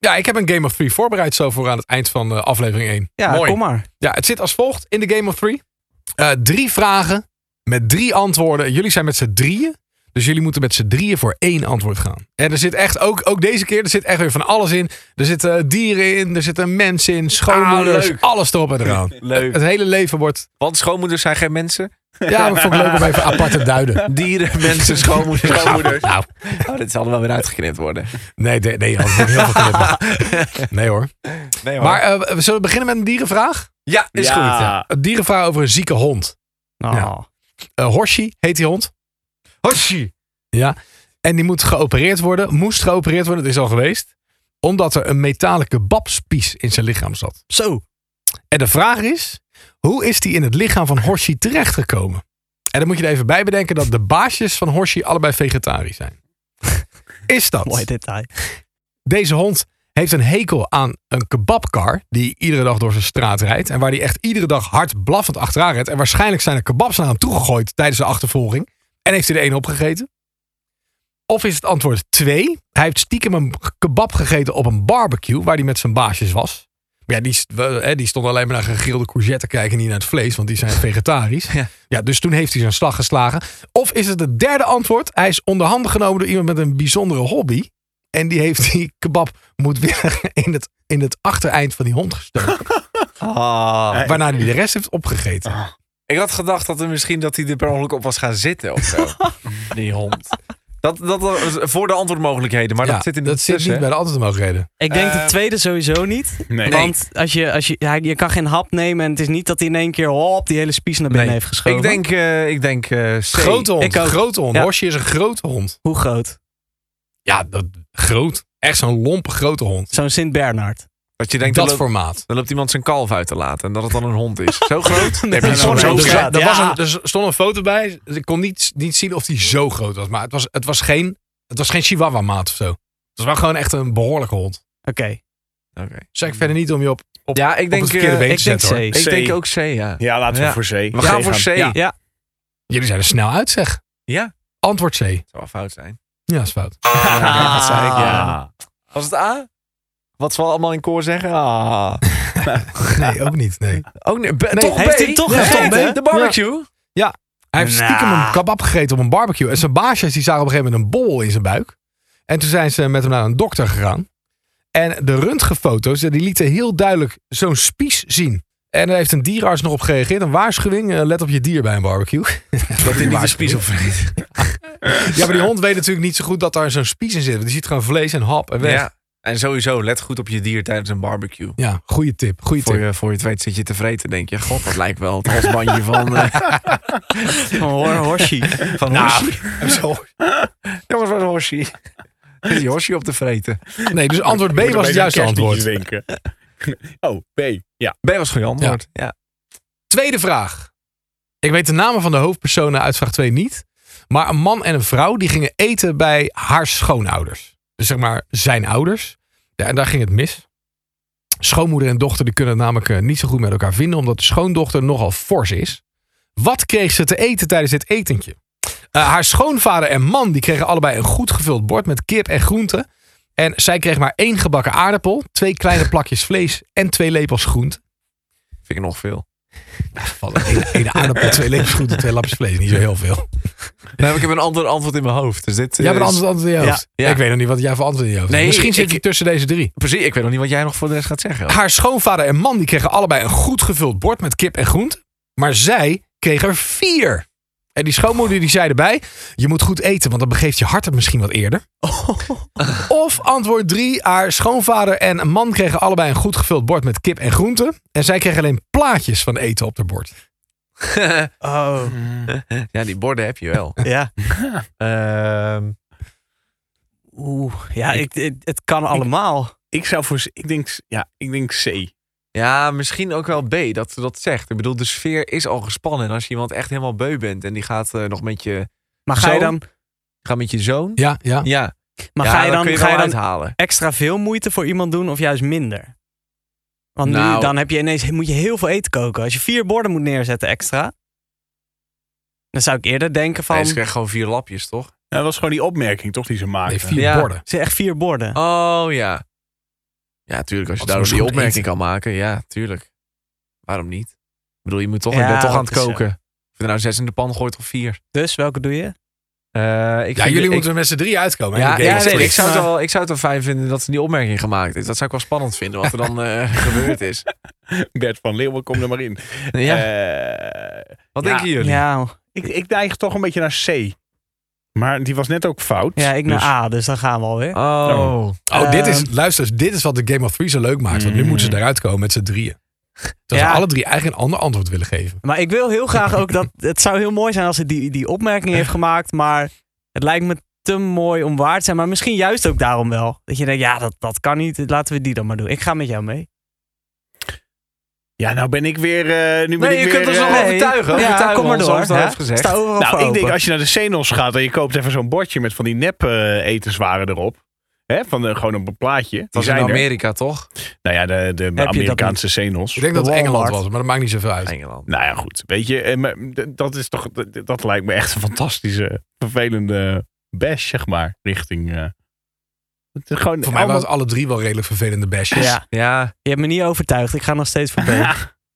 Speaker 1: Ja, ik heb een Game of Three voorbereid zo voor aan het eind van eh, aflevering 1.
Speaker 3: Ja,
Speaker 1: Mooi.
Speaker 3: kom maar.
Speaker 1: Ja, het zit als volgt in de Game of Three. Eh, drie vragen met drie antwoorden. Jullie zijn met z'n drieën. Dus jullie moeten met z'n drieën voor één antwoord gaan. En er zit echt, ook, ook deze keer, er zit echt weer van alles in. Er zitten eh, dieren in, er zitten mensen in, schoonmoeders.
Speaker 2: Ah, leuk.
Speaker 1: alles erop en eraan.
Speaker 2: (laughs) Leuk.
Speaker 1: Het hele leven wordt...
Speaker 2: Eh, Want schoonmoeders zijn geen mensen. (laughs)
Speaker 1: Ja, maar ik vond ik leuk om even apart te duiden. (laughs)
Speaker 2: Dieren, mensen, schoonmoeders. schoonmoeders.
Speaker 1: Nou,
Speaker 2: (laughs) Oh, dit zal er wel weer uitgeknipt worden.
Speaker 1: nee, nee, nee, dat wordt heel veel
Speaker 2: (laughs)
Speaker 1: knippen. Nee hoor.
Speaker 2: Nee,
Speaker 1: Maar eh, we zullen we beginnen met een dierenvraag?
Speaker 2: ja, is
Speaker 4: Ja.
Speaker 2: goed.
Speaker 1: Een dierenvraag over een zieke hond.
Speaker 3: Oh.
Speaker 1: Ja. Eh Horshi heet die hond.
Speaker 2: Hoshi.
Speaker 1: En die moet geopereerd worden, moest geopereerd worden, het is al geweest. Omdat er een metalen kebabspies in zijn lichaam zat.
Speaker 3: Zo.
Speaker 1: En de vraag is, hoe is die in het lichaam van Horshi terechtgekomen? En dan moet je er even bij bedenken dat de baasjes van Horshi allebei vegetarisch
Speaker 3: (laughs)
Speaker 1: zijn. Is dat?
Speaker 3: Mooi detail.
Speaker 1: Deze hond heeft een hekel aan een kebabkar die iedere dag door zijn straat rijdt. En waar die echt iedere dag hard blaffend achteraan rijdt. En waarschijnlijk zijn er kebabs naar hem toegegooid tijdens de achtervolging. En heeft hij er één opgegeten? Of is het antwoord 2? Hij heeft stiekem een kebab gegeten op een barbecue waar hij met zijn baasjes was. Maar ja, die, st- we- hè, die stond alleen maar naar gegrilde courgette te kijken, niet naar het vlees, want die zijn vegetarisch.
Speaker 2: Ja.
Speaker 1: Ja, dus toen heeft hij zijn slag geslagen. Of is het het derde antwoord? Hij is onderhanden genomen door iemand met een bijzondere hobby. En die heeft die kebab moedwillig (laughs) in het, in het achtereind van die hond
Speaker 2: (laughs)
Speaker 1: gestoken.
Speaker 2: Ah.
Speaker 1: waarna hij de rest heeft opgegeten.
Speaker 2: Ik had gedacht dat er misschien dat hij er per ongeluk op was gaan zitten of
Speaker 1: (laughs)
Speaker 2: zo. Die hond. Dat, dat was voor de antwoordmogelijkheden, maar
Speaker 1: Ja,
Speaker 2: dat zit in de
Speaker 1: dat zit niet bij de antwoordmogelijkheden.
Speaker 3: Ik denk de
Speaker 2: Eh,
Speaker 3: tweede sowieso niet.
Speaker 4: Nee.
Speaker 3: Want als je, als je, hij- je kan geen hap nemen. En het is niet dat hij in één keer hop, die hele spies naar binnen
Speaker 2: Nee.
Speaker 3: heeft geschoven.
Speaker 2: Ik denk, eh, ik denk eh, C.
Speaker 1: Grote hond,
Speaker 3: ik ook.
Speaker 1: grote hond.
Speaker 3: Ja.
Speaker 1: Horsje is een grote hond.
Speaker 3: Hoe groot?
Speaker 1: Ja, dat, groot. Echt zo'n lompe grote hond.
Speaker 3: Zo'n Sint-Bernard.
Speaker 2: Dat je denkt,
Speaker 1: dat
Speaker 2: dat loopt,
Speaker 1: formaat.
Speaker 2: dan loopt iemand zijn kalf uit te laten en dat het dan een hond is.
Speaker 1: (laughs)
Speaker 2: Zo groot?
Speaker 3: Met een
Speaker 4: maar
Speaker 1: Zo-
Speaker 4: zo'n
Speaker 1: zo-
Speaker 3: zonnebril
Speaker 4: groot.
Speaker 1: zo-
Speaker 3: staat.
Speaker 1: Er was
Speaker 3: Ja.
Speaker 1: een- er stond een foto bij. Ik kon niet, niet zien of die zo groot was. Maar het was, het was geen, het was geen chihuahua maat of zo. Het was wel gewoon echt een behoorlijke hond.
Speaker 3: Oké,
Speaker 2: Oké.
Speaker 1: Zeg ik verder niet om je op, op,
Speaker 2: Ja, ik
Speaker 1: op
Speaker 2: denk,
Speaker 1: het verkeerde
Speaker 2: eh,
Speaker 1: been
Speaker 3: ik
Speaker 1: te
Speaker 3: denk
Speaker 1: zetten.
Speaker 3: C.
Speaker 1: hoor.
Speaker 2: ik
Speaker 4: C.
Speaker 2: denk ook C, ja.
Speaker 4: Ja, laten we
Speaker 2: Ja.
Speaker 4: voor C.
Speaker 2: We gaan voor C.
Speaker 3: Ja.
Speaker 2: Ja.
Speaker 1: Jullie zijn er snel uit, zeg. Antwoord C.
Speaker 2: Zou wel fout (laughs) zijn.
Speaker 1: Ja, is fout.
Speaker 4: Ja, dat zei ik, ja.
Speaker 2: Was het A? Wat zal allemaal in koor zeggen? Ah.
Speaker 1: Nee, ook niet. Nee.
Speaker 2: Ook nee, B- toch
Speaker 3: heeft
Speaker 2: B?
Speaker 3: hij toch
Speaker 2: Ja,
Speaker 3: gegeten?
Speaker 2: toch B, De barbecue?
Speaker 1: Hij heeft
Speaker 3: Nah.
Speaker 1: stiekem
Speaker 2: Nou.
Speaker 1: een kebab gegeten op een barbecue. En zijn baasjes die zagen op een gegeven moment een bol in zijn buik. En toen zijn ze met hem naar een dokter gegaan. En de röntgenfoto's eh, die lieten heel duidelijk zo'n spies zien. En daar heeft een dierarts nog op gereageerd. Een waarschuwing, eh, let op je dier bij een barbecue.
Speaker 2: (laughs) Dat hij niet de
Speaker 1: Waarschuwing.
Speaker 2: spies
Speaker 1: (laughs)
Speaker 2: opvreet.
Speaker 1: Ja, maar die hond weet natuurlijk niet zo goed dat daar zo'n spies in zit. Want die ziet gewoon vlees en hap en weg. Ja,
Speaker 2: Ja. En sowieso, let goed op je dier tijdens een barbecue.
Speaker 1: goede tip. Goede
Speaker 2: Voor
Speaker 1: tip.
Speaker 2: je, voor je het weet zit je te vreten, denk je. God, dat lijkt wel het halsbandje van... eh
Speaker 3: Van Hor- Horshi.
Speaker 2: van
Speaker 1: Nou, (laughs)
Speaker 2: Jongens, wat Hoshi. (laughs) Is die Hoshi op te vreten?
Speaker 1: Nee, dus antwoord B
Speaker 4: Moet er
Speaker 1: was het
Speaker 4: bij
Speaker 1: juiste
Speaker 4: zo'n
Speaker 1: antwoord.
Speaker 4: kerstliedje zinken. (laughs) Oh, B. Ja.
Speaker 2: B was gewoon antwoord. Ja.
Speaker 1: Tweede vraag. Ik weet de namen van de hoofdpersonen uit vraag 2 niet. Maar een man en een vrouw die gingen eten bij haar schoonouders. Dus zeg maar zijn ouders. Ja, en daar ging het mis. Schoonmoeder en dochter die kunnen het namelijk eh, niet zo goed met elkaar vinden. Omdat de schoondochter nogal fors is. Wat kreeg ze te eten tijdens dit etentje? Eh, haar schoonvader en man die kregen allebei een goed gevuld bord met kip en groenten. En zij kreeg maar één gebakken aardappel, twee kleine plakjes vlees en twee lepels groente.
Speaker 2: Vind ik nog veel.
Speaker 1: Eén één aardappel, twee levensgoeden, twee lapjes vlees. Niet zo heel veel.
Speaker 2: ik heb een ander antwoord in mijn hoofd. Dus dit, eh,
Speaker 1: Jij hebt een
Speaker 2: is-
Speaker 1: antwoord, antwoord in je
Speaker 3: Ja.
Speaker 1: hoofd.
Speaker 2: Ja.
Speaker 1: Ik weet nog niet wat jij voor antwoord in je hoofd
Speaker 2: Nee,
Speaker 1: hebt. Misschien
Speaker 2: ik-
Speaker 1: zit je tussen deze drie.
Speaker 2: Precies, ik weet nog niet wat jij nog voor de rest gaat zeggen.
Speaker 1: Haar schoonvader en man die kregen allebei een goed gevuld bord met kip en groente. Maar zij kreeg er vier. En die schoonmoeder die zei erbij, je moet goed eten, want dan begeeft je hart het misschien wat (laughs) eerder. Of antwoord drie, haar schoonvader en een man kregen allebei een goed gevuld bord met kip en groente. En zij kregen alleen plaatjes van eten op haar bord.
Speaker 3: Oh,
Speaker 2: ja, die borden heb je
Speaker 3: (laughs)
Speaker 2: wel.
Speaker 3: ja.
Speaker 2: Ehm,
Speaker 3: Oeh, ja, ik, ik- het kan allemaal.
Speaker 4: Ik zou voor... Ik denk, ja, ik denk C. Nou,
Speaker 2: ja, misschien ook wel B dat ze dat zegt. Ik bedoel, de sfeer is al gespannen. En als je iemand echt helemaal beu bent en die gaat eh, nog met je,
Speaker 3: Maar ga je
Speaker 2: Zo?
Speaker 3: dan,
Speaker 2: gaat met je zoon.
Speaker 1: Ja, ja.
Speaker 2: Ja,
Speaker 3: maar
Speaker 2: Ja,
Speaker 3: ga je dan,
Speaker 2: kun je
Speaker 3: ga je
Speaker 2: wel
Speaker 3: dan
Speaker 2: uithalen.
Speaker 3: extra veel moeite voor iemand doen of juist minder? Want nu,
Speaker 2: Nou.
Speaker 3: dan heb je ineens, moet je heel veel eten koken. Als je vier borden moet neerzetten extra, dan zou ik eerder denken van,
Speaker 2: Nee,
Speaker 3: het
Speaker 2: ze krijgt gewoon vier lapjes, toch?
Speaker 4: Dat was gewoon die opmerking, toch, die ze maakten.
Speaker 1: Nee, vier
Speaker 2: Ja.
Speaker 1: borden.
Speaker 3: zijn echt vier borden.
Speaker 2: Oh ja. Ja, tuurlijk. Als je
Speaker 1: Wat
Speaker 2: daardoor
Speaker 1: voor
Speaker 2: die
Speaker 1: goed
Speaker 2: opmerking
Speaker 1: eten.
Speaker 2: kan maken, ja, tuurlijk. Waarom niet? Ik bedoel, je moet toch,
Speaker 3: Ja,
Speaker 2: je bent toch aan
Speaker 3: dat
Speaker 2: het
Speaker 3: is, ja.
Speaker 2: koken. Of je er nou zes in de pan gooit of vier.
Speaker 3: Dus welke doe je?
Speaker 2: Eh, ik
Speaker 1: Ja,
Speaker 2: vind-
Speaker 1: jullie
Speaker 2: ik-
Speaker 1: moeten er met z'n drie uitkomen. hè?
Speaker 2: Ja,
Speaker 1: Oké,
Speaker 2: ja,
Speaker 1: dat is
Speaker 2: nee,
Speaker 1: goed.
Speaker 2: ik, zou het wel, ik zou het wel fijn vinden dat ze die opmerking gemaakt is. Dat zou ik wel spannend vinden, wat er
Speaker 4: (laughs)
Speaker 2: dan eh, gebeurd is.
Speaker 4: (laughs) Bert van Leeuwen, kom er maar in.
Speaker 2: Ja,
Speaker 4: Eh,
Speaker 2: wat
Speaker 4: ja.
Speaker 2: denken jullie?
Speaker 3: Ja,
Speaker 4: ik, ik neig toch een beetje naar C. Maar die was net ook fout.
Speaker 3: ja, ik naar
Speaker 4: Dus-
Speaker 3: A, dus dan gaan we alweer.
Speaker 4: Nou,
Speaker 2: Oh.
Speaker 1: Oh, dit is,
Speaker 3: Ehm.
Speaker 1: luister, eens, dit is wat de Game of Threes zo leuk maakt. Want nu
Speaker 4: Mm.
Speaker 1: moeten ze eruit komen met z'n drieën. Dat
Speaker 3: Ja.
Speaker 1: ze alle drie eigenlijk een ander antwoord willen geven.
Speaker 3: Maar ik wil
Speaker 2: (laughs)
Speaker 3: heel graag ook dat. Het zou heel mooi zijn als hij die, die opmerking heeft gemaakt. Maar het lijkt me te mooi om waar te zijn. Maar misschien juist ook daarom wel. Dat je denkt, ja, dat, dat kan niet. Laten we die dan maar doen. Ik ga met jou mee.
Speaker 4: Ja, nou ben ik weer... eh, nu ben
Speaker 2: Nee,
Speaker 4: ik
Speaker 2: je
Speaker 4: weer,
Speaker 2: kunt ons
Speaker 4: eh,
Speaker 2: nog
Speaker 3: Nee.
Speaker 2: overtuigen.
Speaker 3: Ja,
Speaker 2: overtuigen
Speaker 3: kom maar
Speaker 2: ons,
Speaker 3: door,
Speaker 2: zoals het al
Speaker 3: hè?
Speaker 2: heeft gezegd.
Speaker 3: Sta overal
Speaker 4: Nou,
Speaker 3: voor
Speaker 4: ik denk
Speaker 3: open.
Speaker 4: als je naar de Senos gaat en je koopt even zo'n bordje met van die nep eh, etenswaren erop. Hè, van eh, gewoon een plaatje. Die
Speaker 2: Dat was in
Speaker 4: zijn er.
Speaker 2: Amerika, toch?
Speaker 4: Nou ja, de, de
Speaker 3: dat
Speaker 4: Amerikaanse Senos.
Speaker 1: Ik denk
Speaker 3: De
Speaker 1: dat het Engeland
Speaker 3: Walmart.
Speaker 1: was, maar dat maakt niet zoveel uit.
Speaker 2: Engeland.
Speaker 4: Nou ja, goed. Weet je, eh, maar d- dat is toch. d- d- Dat lijkt me echt een fantastische, vervelende bash, zeg maar. Richting. eh, het is gewoon
Speaker 1: Voor mij
Speaker 4: allemaal-
Speaker 1: waren het alle drie wel redelijk vervelende bashes.
Speaker 3: Ja,
Speaker 2: Ja,
Speaker 3: je hebt me niet overtuigd. Ik ga nog steeds voor B.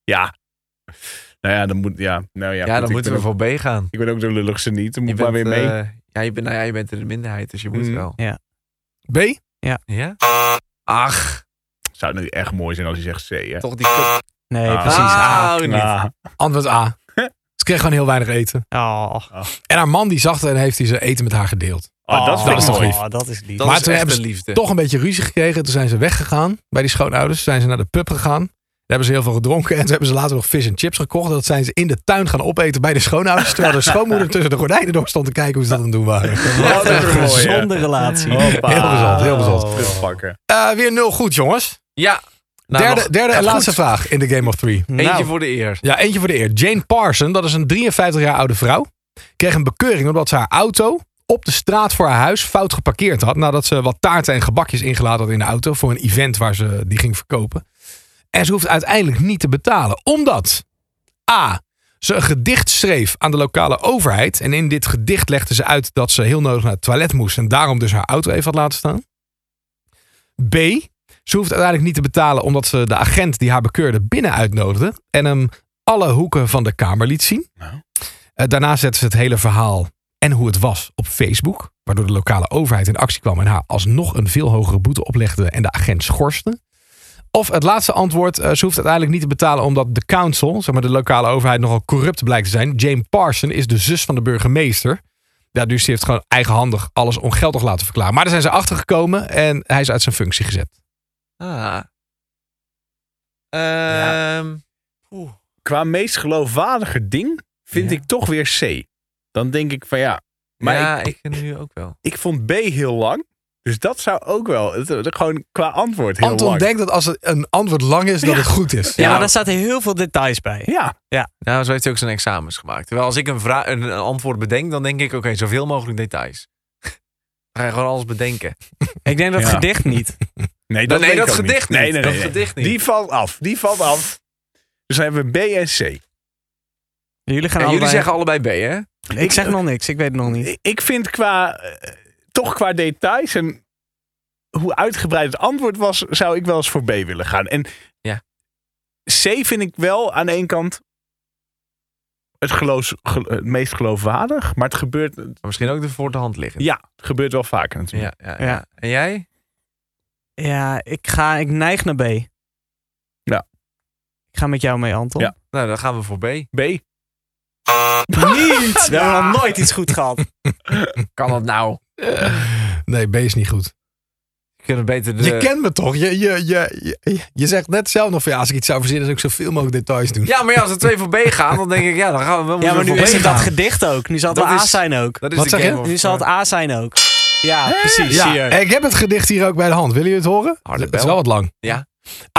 Speaker 4: ja. Nou ja, dan moet. Ja, nou
Speaker 2: ja,
Speaker 4: ja, goed, ik
Speaker 2: dan moeten
Speaker 4: ben
Speaker 2: we
Speaker 4: ook-
Speaker 2: voor B gaan.
Speaker 4: Ik ben ook de lulligste niet. Dan moet maar weer mee.
Speaker 2: eh, ja, je bent, nou ja, je bent in de minderheid, dus je moet
Speaker 4: Mm.
Speaker 2: wel.
Speaker 1: B?
Speaker 2: Ja? Ach,
Speaker 4: Zou het nu echt mooi zijn als je zegt C. Hè?
Speaker 2: toch die kut.
Speaker 3: Nee,
Speaker 4: Ah.
Speaker 3: precies. A.
Speaker 2: Ah, niet.
Speaker 4: Ah,
Speaker 1: Antwoord A.
Speaker 2: (laughs)
Speaker 1: Ze kreeg gewoon heel weinig eten.
Speaker 3: Oh,
Speaker 1: En haar man die zag het en heeft hij zijn eten met haar gedeeld.
Speaker 4: ah, dat
Speaker 1: dat
Speaker 4: vind
Speaker 1: is
Speaker 4: ik
Speaker 1: toch
Speaker 4: mooi.
Speaker 1: lief.
Speaker 3: oh, dat is lief.
Speaker 2: Dat
Speaker 1: Maar
Speaker 2: is
Speaker 1: toen
Speaker 2: echt
Speaker 1: hebben
Speaker 2: een
Speaker 1: ze
Speaker 2: liefde.
Speaker 1: Toch een beetje ruzie gekregen. Toen zijn ze weggegaan bij die schoonouders. Toen zijn ze naar de pub gegaan. Daar hebben ze heel veel gedronken. (laughs) En toen hebben ze later nog vis en chips gekocht. Dat zijn ze in de tuin gaan opeten bij de schoonouders. Terwijl de
Speaker 2: (laughs)
Speaker 1: schoonmoeder tussen de gordijnen door stond te kijken hoe ze dat aan het doen waren.
Speaker 4: Wat een
Speaker 3: een
Speaker 4: mooie.
Speaker 3: gezonde relatie.
Speaker 4: Hoppa.
Speaker 1: Heel gezond, heel gezond.
Speaker 4: Terugpakken.
Speaker 1: Eh, weer nul goed, jongens.
Speaker 2: Ja, nou, nog
Speaker 1: derde derde en
Speaker 2: Gaat
Speaker 1: laatste
Speaker 2: goed.
Speaker 1: vraag in de Game of Three. Hm.
Speaker 2: eentje
Speaker 3: Nou,
Speaker 2: voor de eer.
Speaker 1: Ja, eentje voor de eer. Jane Parson, dat is een 53 jaar oude vrouw, kreeg een bekeuring omdat ze haar auto op de straat voor haar huis fout geparkeerd had. Nadat ze wat taarten en gebakjes ingeladen had in de auto voor een event waar ze die ging verkopen. En ze hoeft uiteindelijk niet te betalen, omdat A. Ze een gedicht schreef aan de lokale overheid. En in dit gedicht legde ze uit dat ze heel nodig naar het toilet moest. En daarom dus haar auto even had laten staan. B. Ze hoeft uiteindelijk niet te betalen omdat ze de agent die haar bekeurde binnen uitnodigde. En hem alle hoeken van de Kamer liet zien.
Speaker 4: Nou.
Speaker 1: Eh, daarna zetten ze het hele verhaal en hoe het was op Facebook. Waardoor de lokale overheid in actie kwam en haar alsnog een veel hogere boete oplegde en de agent schorste. Of het laatste antwoord, eh, ze hoeft uiteindelijk niet te betalen omdat de council, zeg maar de lokale overheid, nogal corrupt blijkt te zijn. Jane Parson is de zus van de burgemeester. Ja, dus die heeft gewoon eigenhandig alles ongeldig laten verklaren. Maar daar zijn ze achter gekomen en hij is uit zijn functie gezet.
Speaker 2: Ah. Ehm, poeh.
Speaker 4: qua meest geloofwaardige ding vind
Speaker 2: Ja.
Speaker 4: ik toch weer C. Dan denk ik van ja, maar
Speaker 2: ja,
Speaker 4: ik,
Speaker 2: ik nu ook wel.
Speaker 4: ik vond B heel lang. Dus dat zou ook wel, het- het- gewoon qua antwoord heel
Speaker 1: Anton
Speaker 4: lang.
Speaker 1: denkt dat als het een antwoord lang is, dat het goed is.
Speaker 3: ja, maar daar zaten heel veel details bij.
Speaker 4: Ja,
Speaker 2: Nou, zo heeft hij ook zijn examens gemaakt. Terwijl als ik een, vra- een, een antwoord bedenk, dan denk ik, oké, zoveel mogelijk details. (laughs) Dan ga je gewoon alles bedenken.
Speaker 3: Ik denk dat
Speaker 4: Ja.
Speaker 3: gedicht niet.
Speaker 4: nee,
Speaker 2: Dat, nee,
Speaker 4: weet ik
Speaker 2: dat
Speaker 4: ook
Speaker 2: gedicht niet.
Speaker 4: Nee, nee, nee,
Speaker 2: dat
Speaker 4: nee.
Speaker 2: gedicht niet.
Speaker 4: Die valt af, die valt af. Dus dan hebben we B en C.
Speaker 3: Jullie gaan
Speaker 2: en jullie
Speaker 3: allebei...
Speaker 2: zeggen allebei B, hè?
Speaker 3: Ik zeg nog niks. Ik weet het nog niet.
Speaker 4: Ik- Ik vind qua, eh, toch qua details en hoe uitgebreid het antwoord was, zou ik wel eens voor B willen gaan. En
Speaker 2: Ja.
Speaker 4: C vind ik wel aan de ene kant het, geloos, gel- het meest geloofwaardig, maar het gebeurt, het
Speaker 2: Maar misschien ook de voor de hand liggen.
Speaker 4: Ja. gebeurt wel vaker natuurlijk.
Speaker 2: Ja, ja,
Speaker 3: Ja.
Speaker 2: ja. En jij?
Speaker 3: Ja, ik, ga, ik neig naar B.
Speaker 4: Ja.
Speaker 3: Ik ga met jou mee, Anton.
Speaker 4: Ja.
Speaker 2: Nou, dan gaan we voor B.
Speaker 4: B. (laughs)
Speaker 3: Niet! We hebben nog nooit iets goed gehad.
Speaker 2: Kan dat (laughs) nou?
Speaker 1: Nee, B is niet goed.
Speaker 2: Je kunt het beter de...
Speaker 1: Je kent me toch? Je, je, je, je, je zegt net zelf nog van ja, als ik iets zou verzinnen, zou ik zoveel mogelijk details doen.
Speaker 2: Ja, maar ja, als er twee voor B gaan, dan denk ik, ja, dan gaan we wel
Speaker 3: Ja, maar
Speaker 2: voor
Speaker 3: nu
Speaker 2: B
Speaker 3: is het
Speaker 2: gaan.
Speaker 3: dat gedicht ook. Nu zal het
Speaker 2: Dat
Speaker 3: wel A
Speaker 2: is-
Speaker 3: zijn ook.
Speaker 2: Dat is
Speaker 1: Wat
Speaker 2: de
Speaker 1: zeg
Speaker 2: game
Speaker 1: je?
Speaker 2: of-
Speaker 3: Nu zal het A zijn ook. Ja, precies.
Speaker 1: Ja,
Speaker 3: Hier.
Speaker 1: en ik heb het gedicht hier ook bij de hand. Willen jullie het horen?
Speaker 2: Harde
Speaker 1: het is
Speaker 2: bel.
Speaker 1: wel wat lang.
Speaker 2: Ja.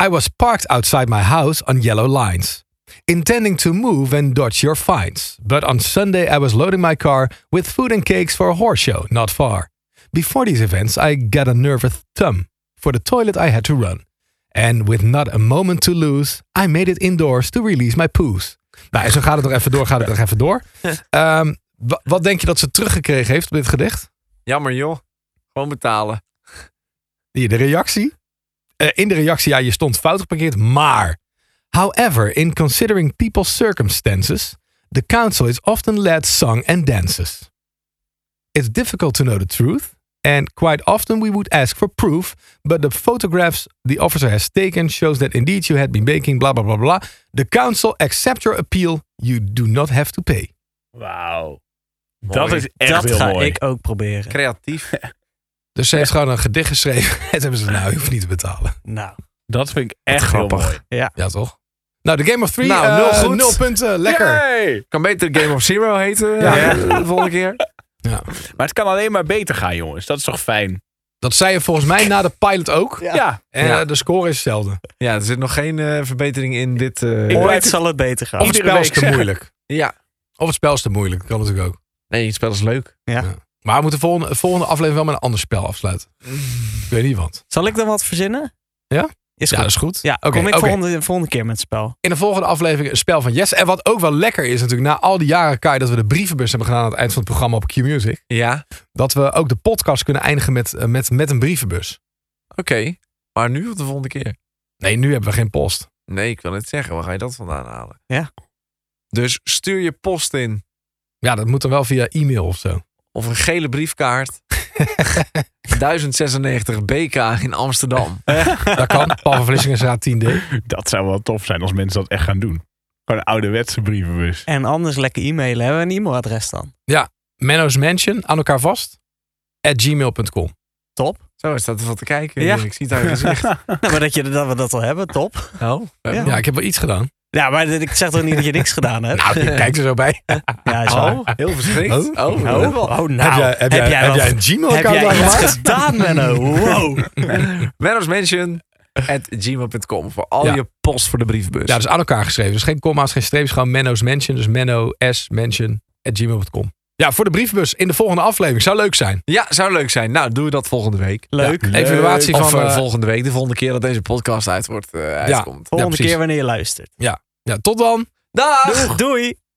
Speaker 1: I was parked outside my house on yellow lines. Intending to move and dodge your fines. But on Sunday I was loading my car with food and cakes for a horse show not far. Before these events I got a nervous thumb. For the toilet I had to run. And with not a moment to lose, I made it indoors to release my poos. Nou, en zo gaat het nog even door, gaat het nog even
Speaker 2: (laughs)
Speaker 1: door. Ehm, wa- wat denk je dat ze teruggekregen heeft op dit gedicht?
Speaker 2: Jammer, joh. Gewoon betalen.
Speaker 1: Hier, de reactie. Eh, in de reactie, ja, je stond fout geparkeerd, maar. However, in considering people's circumstances, the council is often led song and dances. It's difficult to know the truth, and quite often we would ask for proof, but the photographs the officer has taken shows that indeed you had been baking, blah blah blah blah. The council accept your appeal, you do not have to pay.
Speaker 4: Wauw.
Speaker 2: Mooi.
Speaker 4: Dat is echt
Speaker 3: dat
Speaker 4: heel
Speaker 3: ga
Speaker 4: mooi.
Speaker 3: ik ook proberen.
Speaker 2: Creatief.
Speaker 1: Dus ze heeft gewoon een gedicht geschreven (laughs) en hebben ze, nou, je hoeft niet te betalen.
Speaker 3: Nou,
Speaker 4: Dat vind ik echt
Speaker 2: grappig.
Speaker 4: Heel mooi.
Speaker 1: Ja, toch? Nou, de Game of Three,
Speaker 2: Nou,
Speaker 1: eh,
Speaker 2: nul goed.
Speaker 1: nul punten, lekker.
Speaker 4: Yay!
Speaker 2: Kan beter Game of Zero heten.
Speaker 1: Ja.
Speaker 2: eh, De volgende keer.
Speaker 4: Maar het kan alleen maar beter gaan, jongens. Dat is toch fijn?
Speaker 1: Dat zei je volgens mij na de pilot ook.
Speaker 3: Ja.
Speaker 1: En
Speaker 2: Ja.
Speaker 1: eh, de score is hetzelfde.
Speaker 2: Ja, er zit nog geen eh, verbetering in dit... eh,
Speaker 4: Ik-
Speaker 3: ooit
Speaker 4: blijf-
Speaker 3: zal het beter gaan.
Speaker 1: Of het
Speaker 4: Iedere
Speaker 1: spel is
Speaker 4: week
Speaker 1: te
Speaker 4: zeggen.
Speaker 1: moeilijk.
Speaker 2: Ja.
Speaker 1: Of het spel is te moeilijk. Kan natuurlijk ook.
Speaker 2: Nee, het spel is leuk.
Speaker 1: Maar we moeten volgende, de volgende aflevering wel met een ander spel afsluiten.
Speaker 4: Mm.
Speaker 1: Ik weet niet wat.
Speaker 3: Zal ik dan wat verzinnen?
Speaker 1: Ja?
Speaker 3: Is
Speaker 1: Ja,
Speaker 3: goed.
Speaker 1: dat is goed.
Speaker 3: Ja,
Speaker 1: Oké,
Speaker 3: kom ik
Speaker 1: oké.
Speaker 3: volgende, volgende keer met het spel.
Speaker 1: In de volgende aflevering een spel van Jesse. En wat ook wel lekker is natuurlijk, na al die jaren Kai, dat we de brievenbus hebben gedaan aan het eind van het programma op Q-Music.
Speaker 2: Ja,
Speaker 1: Dat we ook de podcast kunnen eindigen met, eh, met, met een brievenbus.
Speaker 2: oké. Maar nu of de volgende keer?
Speaker 1: Nee, nu hebben we geen post.
Speaker 2: Nee, ik wil het zeggen. Waar ga je dat vandaan halen?
Speaker 3: Ja.
Speaker 2: Dus stuur je post in.
Speaker 1: Ja, dat moet dan wel via e-mail of zo.
Speaker 2: Of een gele briefkaart. 1096 BK in Amsterdam.
Speaker 1: Dat kan.
Speaker 4: (laughs)
Speaker 1: Paul van Vlissingenstraat 10D.
Speaker 4: Dat zou wel tof zijn als mensen dat echt gaan doen. Gewoon een ouderwetse brievenbus.
Speaker 3: En anders lekker e-mailen. Hebben we een e-mailadres dan?
Speaker 1: Menno's Mansion, aan elkaar vast. At gmail.com.
Speaker 3: Top.
Speaker 2: Zo, staat er wat te kijken.
Speaker 3: Ja.
Speaker 2: Ik zie het aan je gezicht.
Speaker 3: Nou, maar dat, je, dat we dat al hebben, top.
Speaker 2: Oh,
Speaker 3: Ja.
Speaker 1: Ja, ik heb wel iets gedaan. (laughs)
Speaker 3: Ja, maar dit- ik zeg toch niet dat je niks gedaan hebt?
Speaker 1: Nou, ik kijk er zo bij.
Speaker 3: (laughs) Ja, is waar.
Speaker 2: Oh, heel verschrikt.
Speaker 1: Oh.
Speaker 2: Oh,
Speaker 3: Oh, oh, nou.
Speaker 1: heb jij, heb jij, heb
Speaker 3: wat-
Speaker 1: jij een Gmail-account
Speaker 3: heb jij iets
Speaker 1: aangemaakt?
Speaker 3: gedaan, Menno? Wow.
Speaker 2: gmail.com voor al
Speaker 1: Ja.
Speaker 2: je post voor de briefbus.
Speaker 1: Ja, dus aan elkaar geschreven. Dus geen comma's, geen streepjes, gewoon Menno's Mansion. Dus Menno S Mansion at gmail.com. Ja, voor de brievenbus in de volgende aflevering. Zou leuk zijn.
Speaker 2: Ja, zou leuk zijn. Nou, doen we dat volgende week.
Speaker 3: Leuk.
Speaker 4: Ja.
Speaker 1: Evaluatie
Speaker 2: Of
Speaker 1: van...
Speaker 2: eh,
Speaker 1: eh,
Speaker 2: volgende week, de volgende keer dat deze podcast uit wordt, eh, uitkomt.
Speaker 3: Volgende
Speaker 1: precies.
Speaker 3: keer wanneer je luistert.
Speaker 1: ja, tot dan.
Speaker 2: Dag!
Speaker 3: Doei.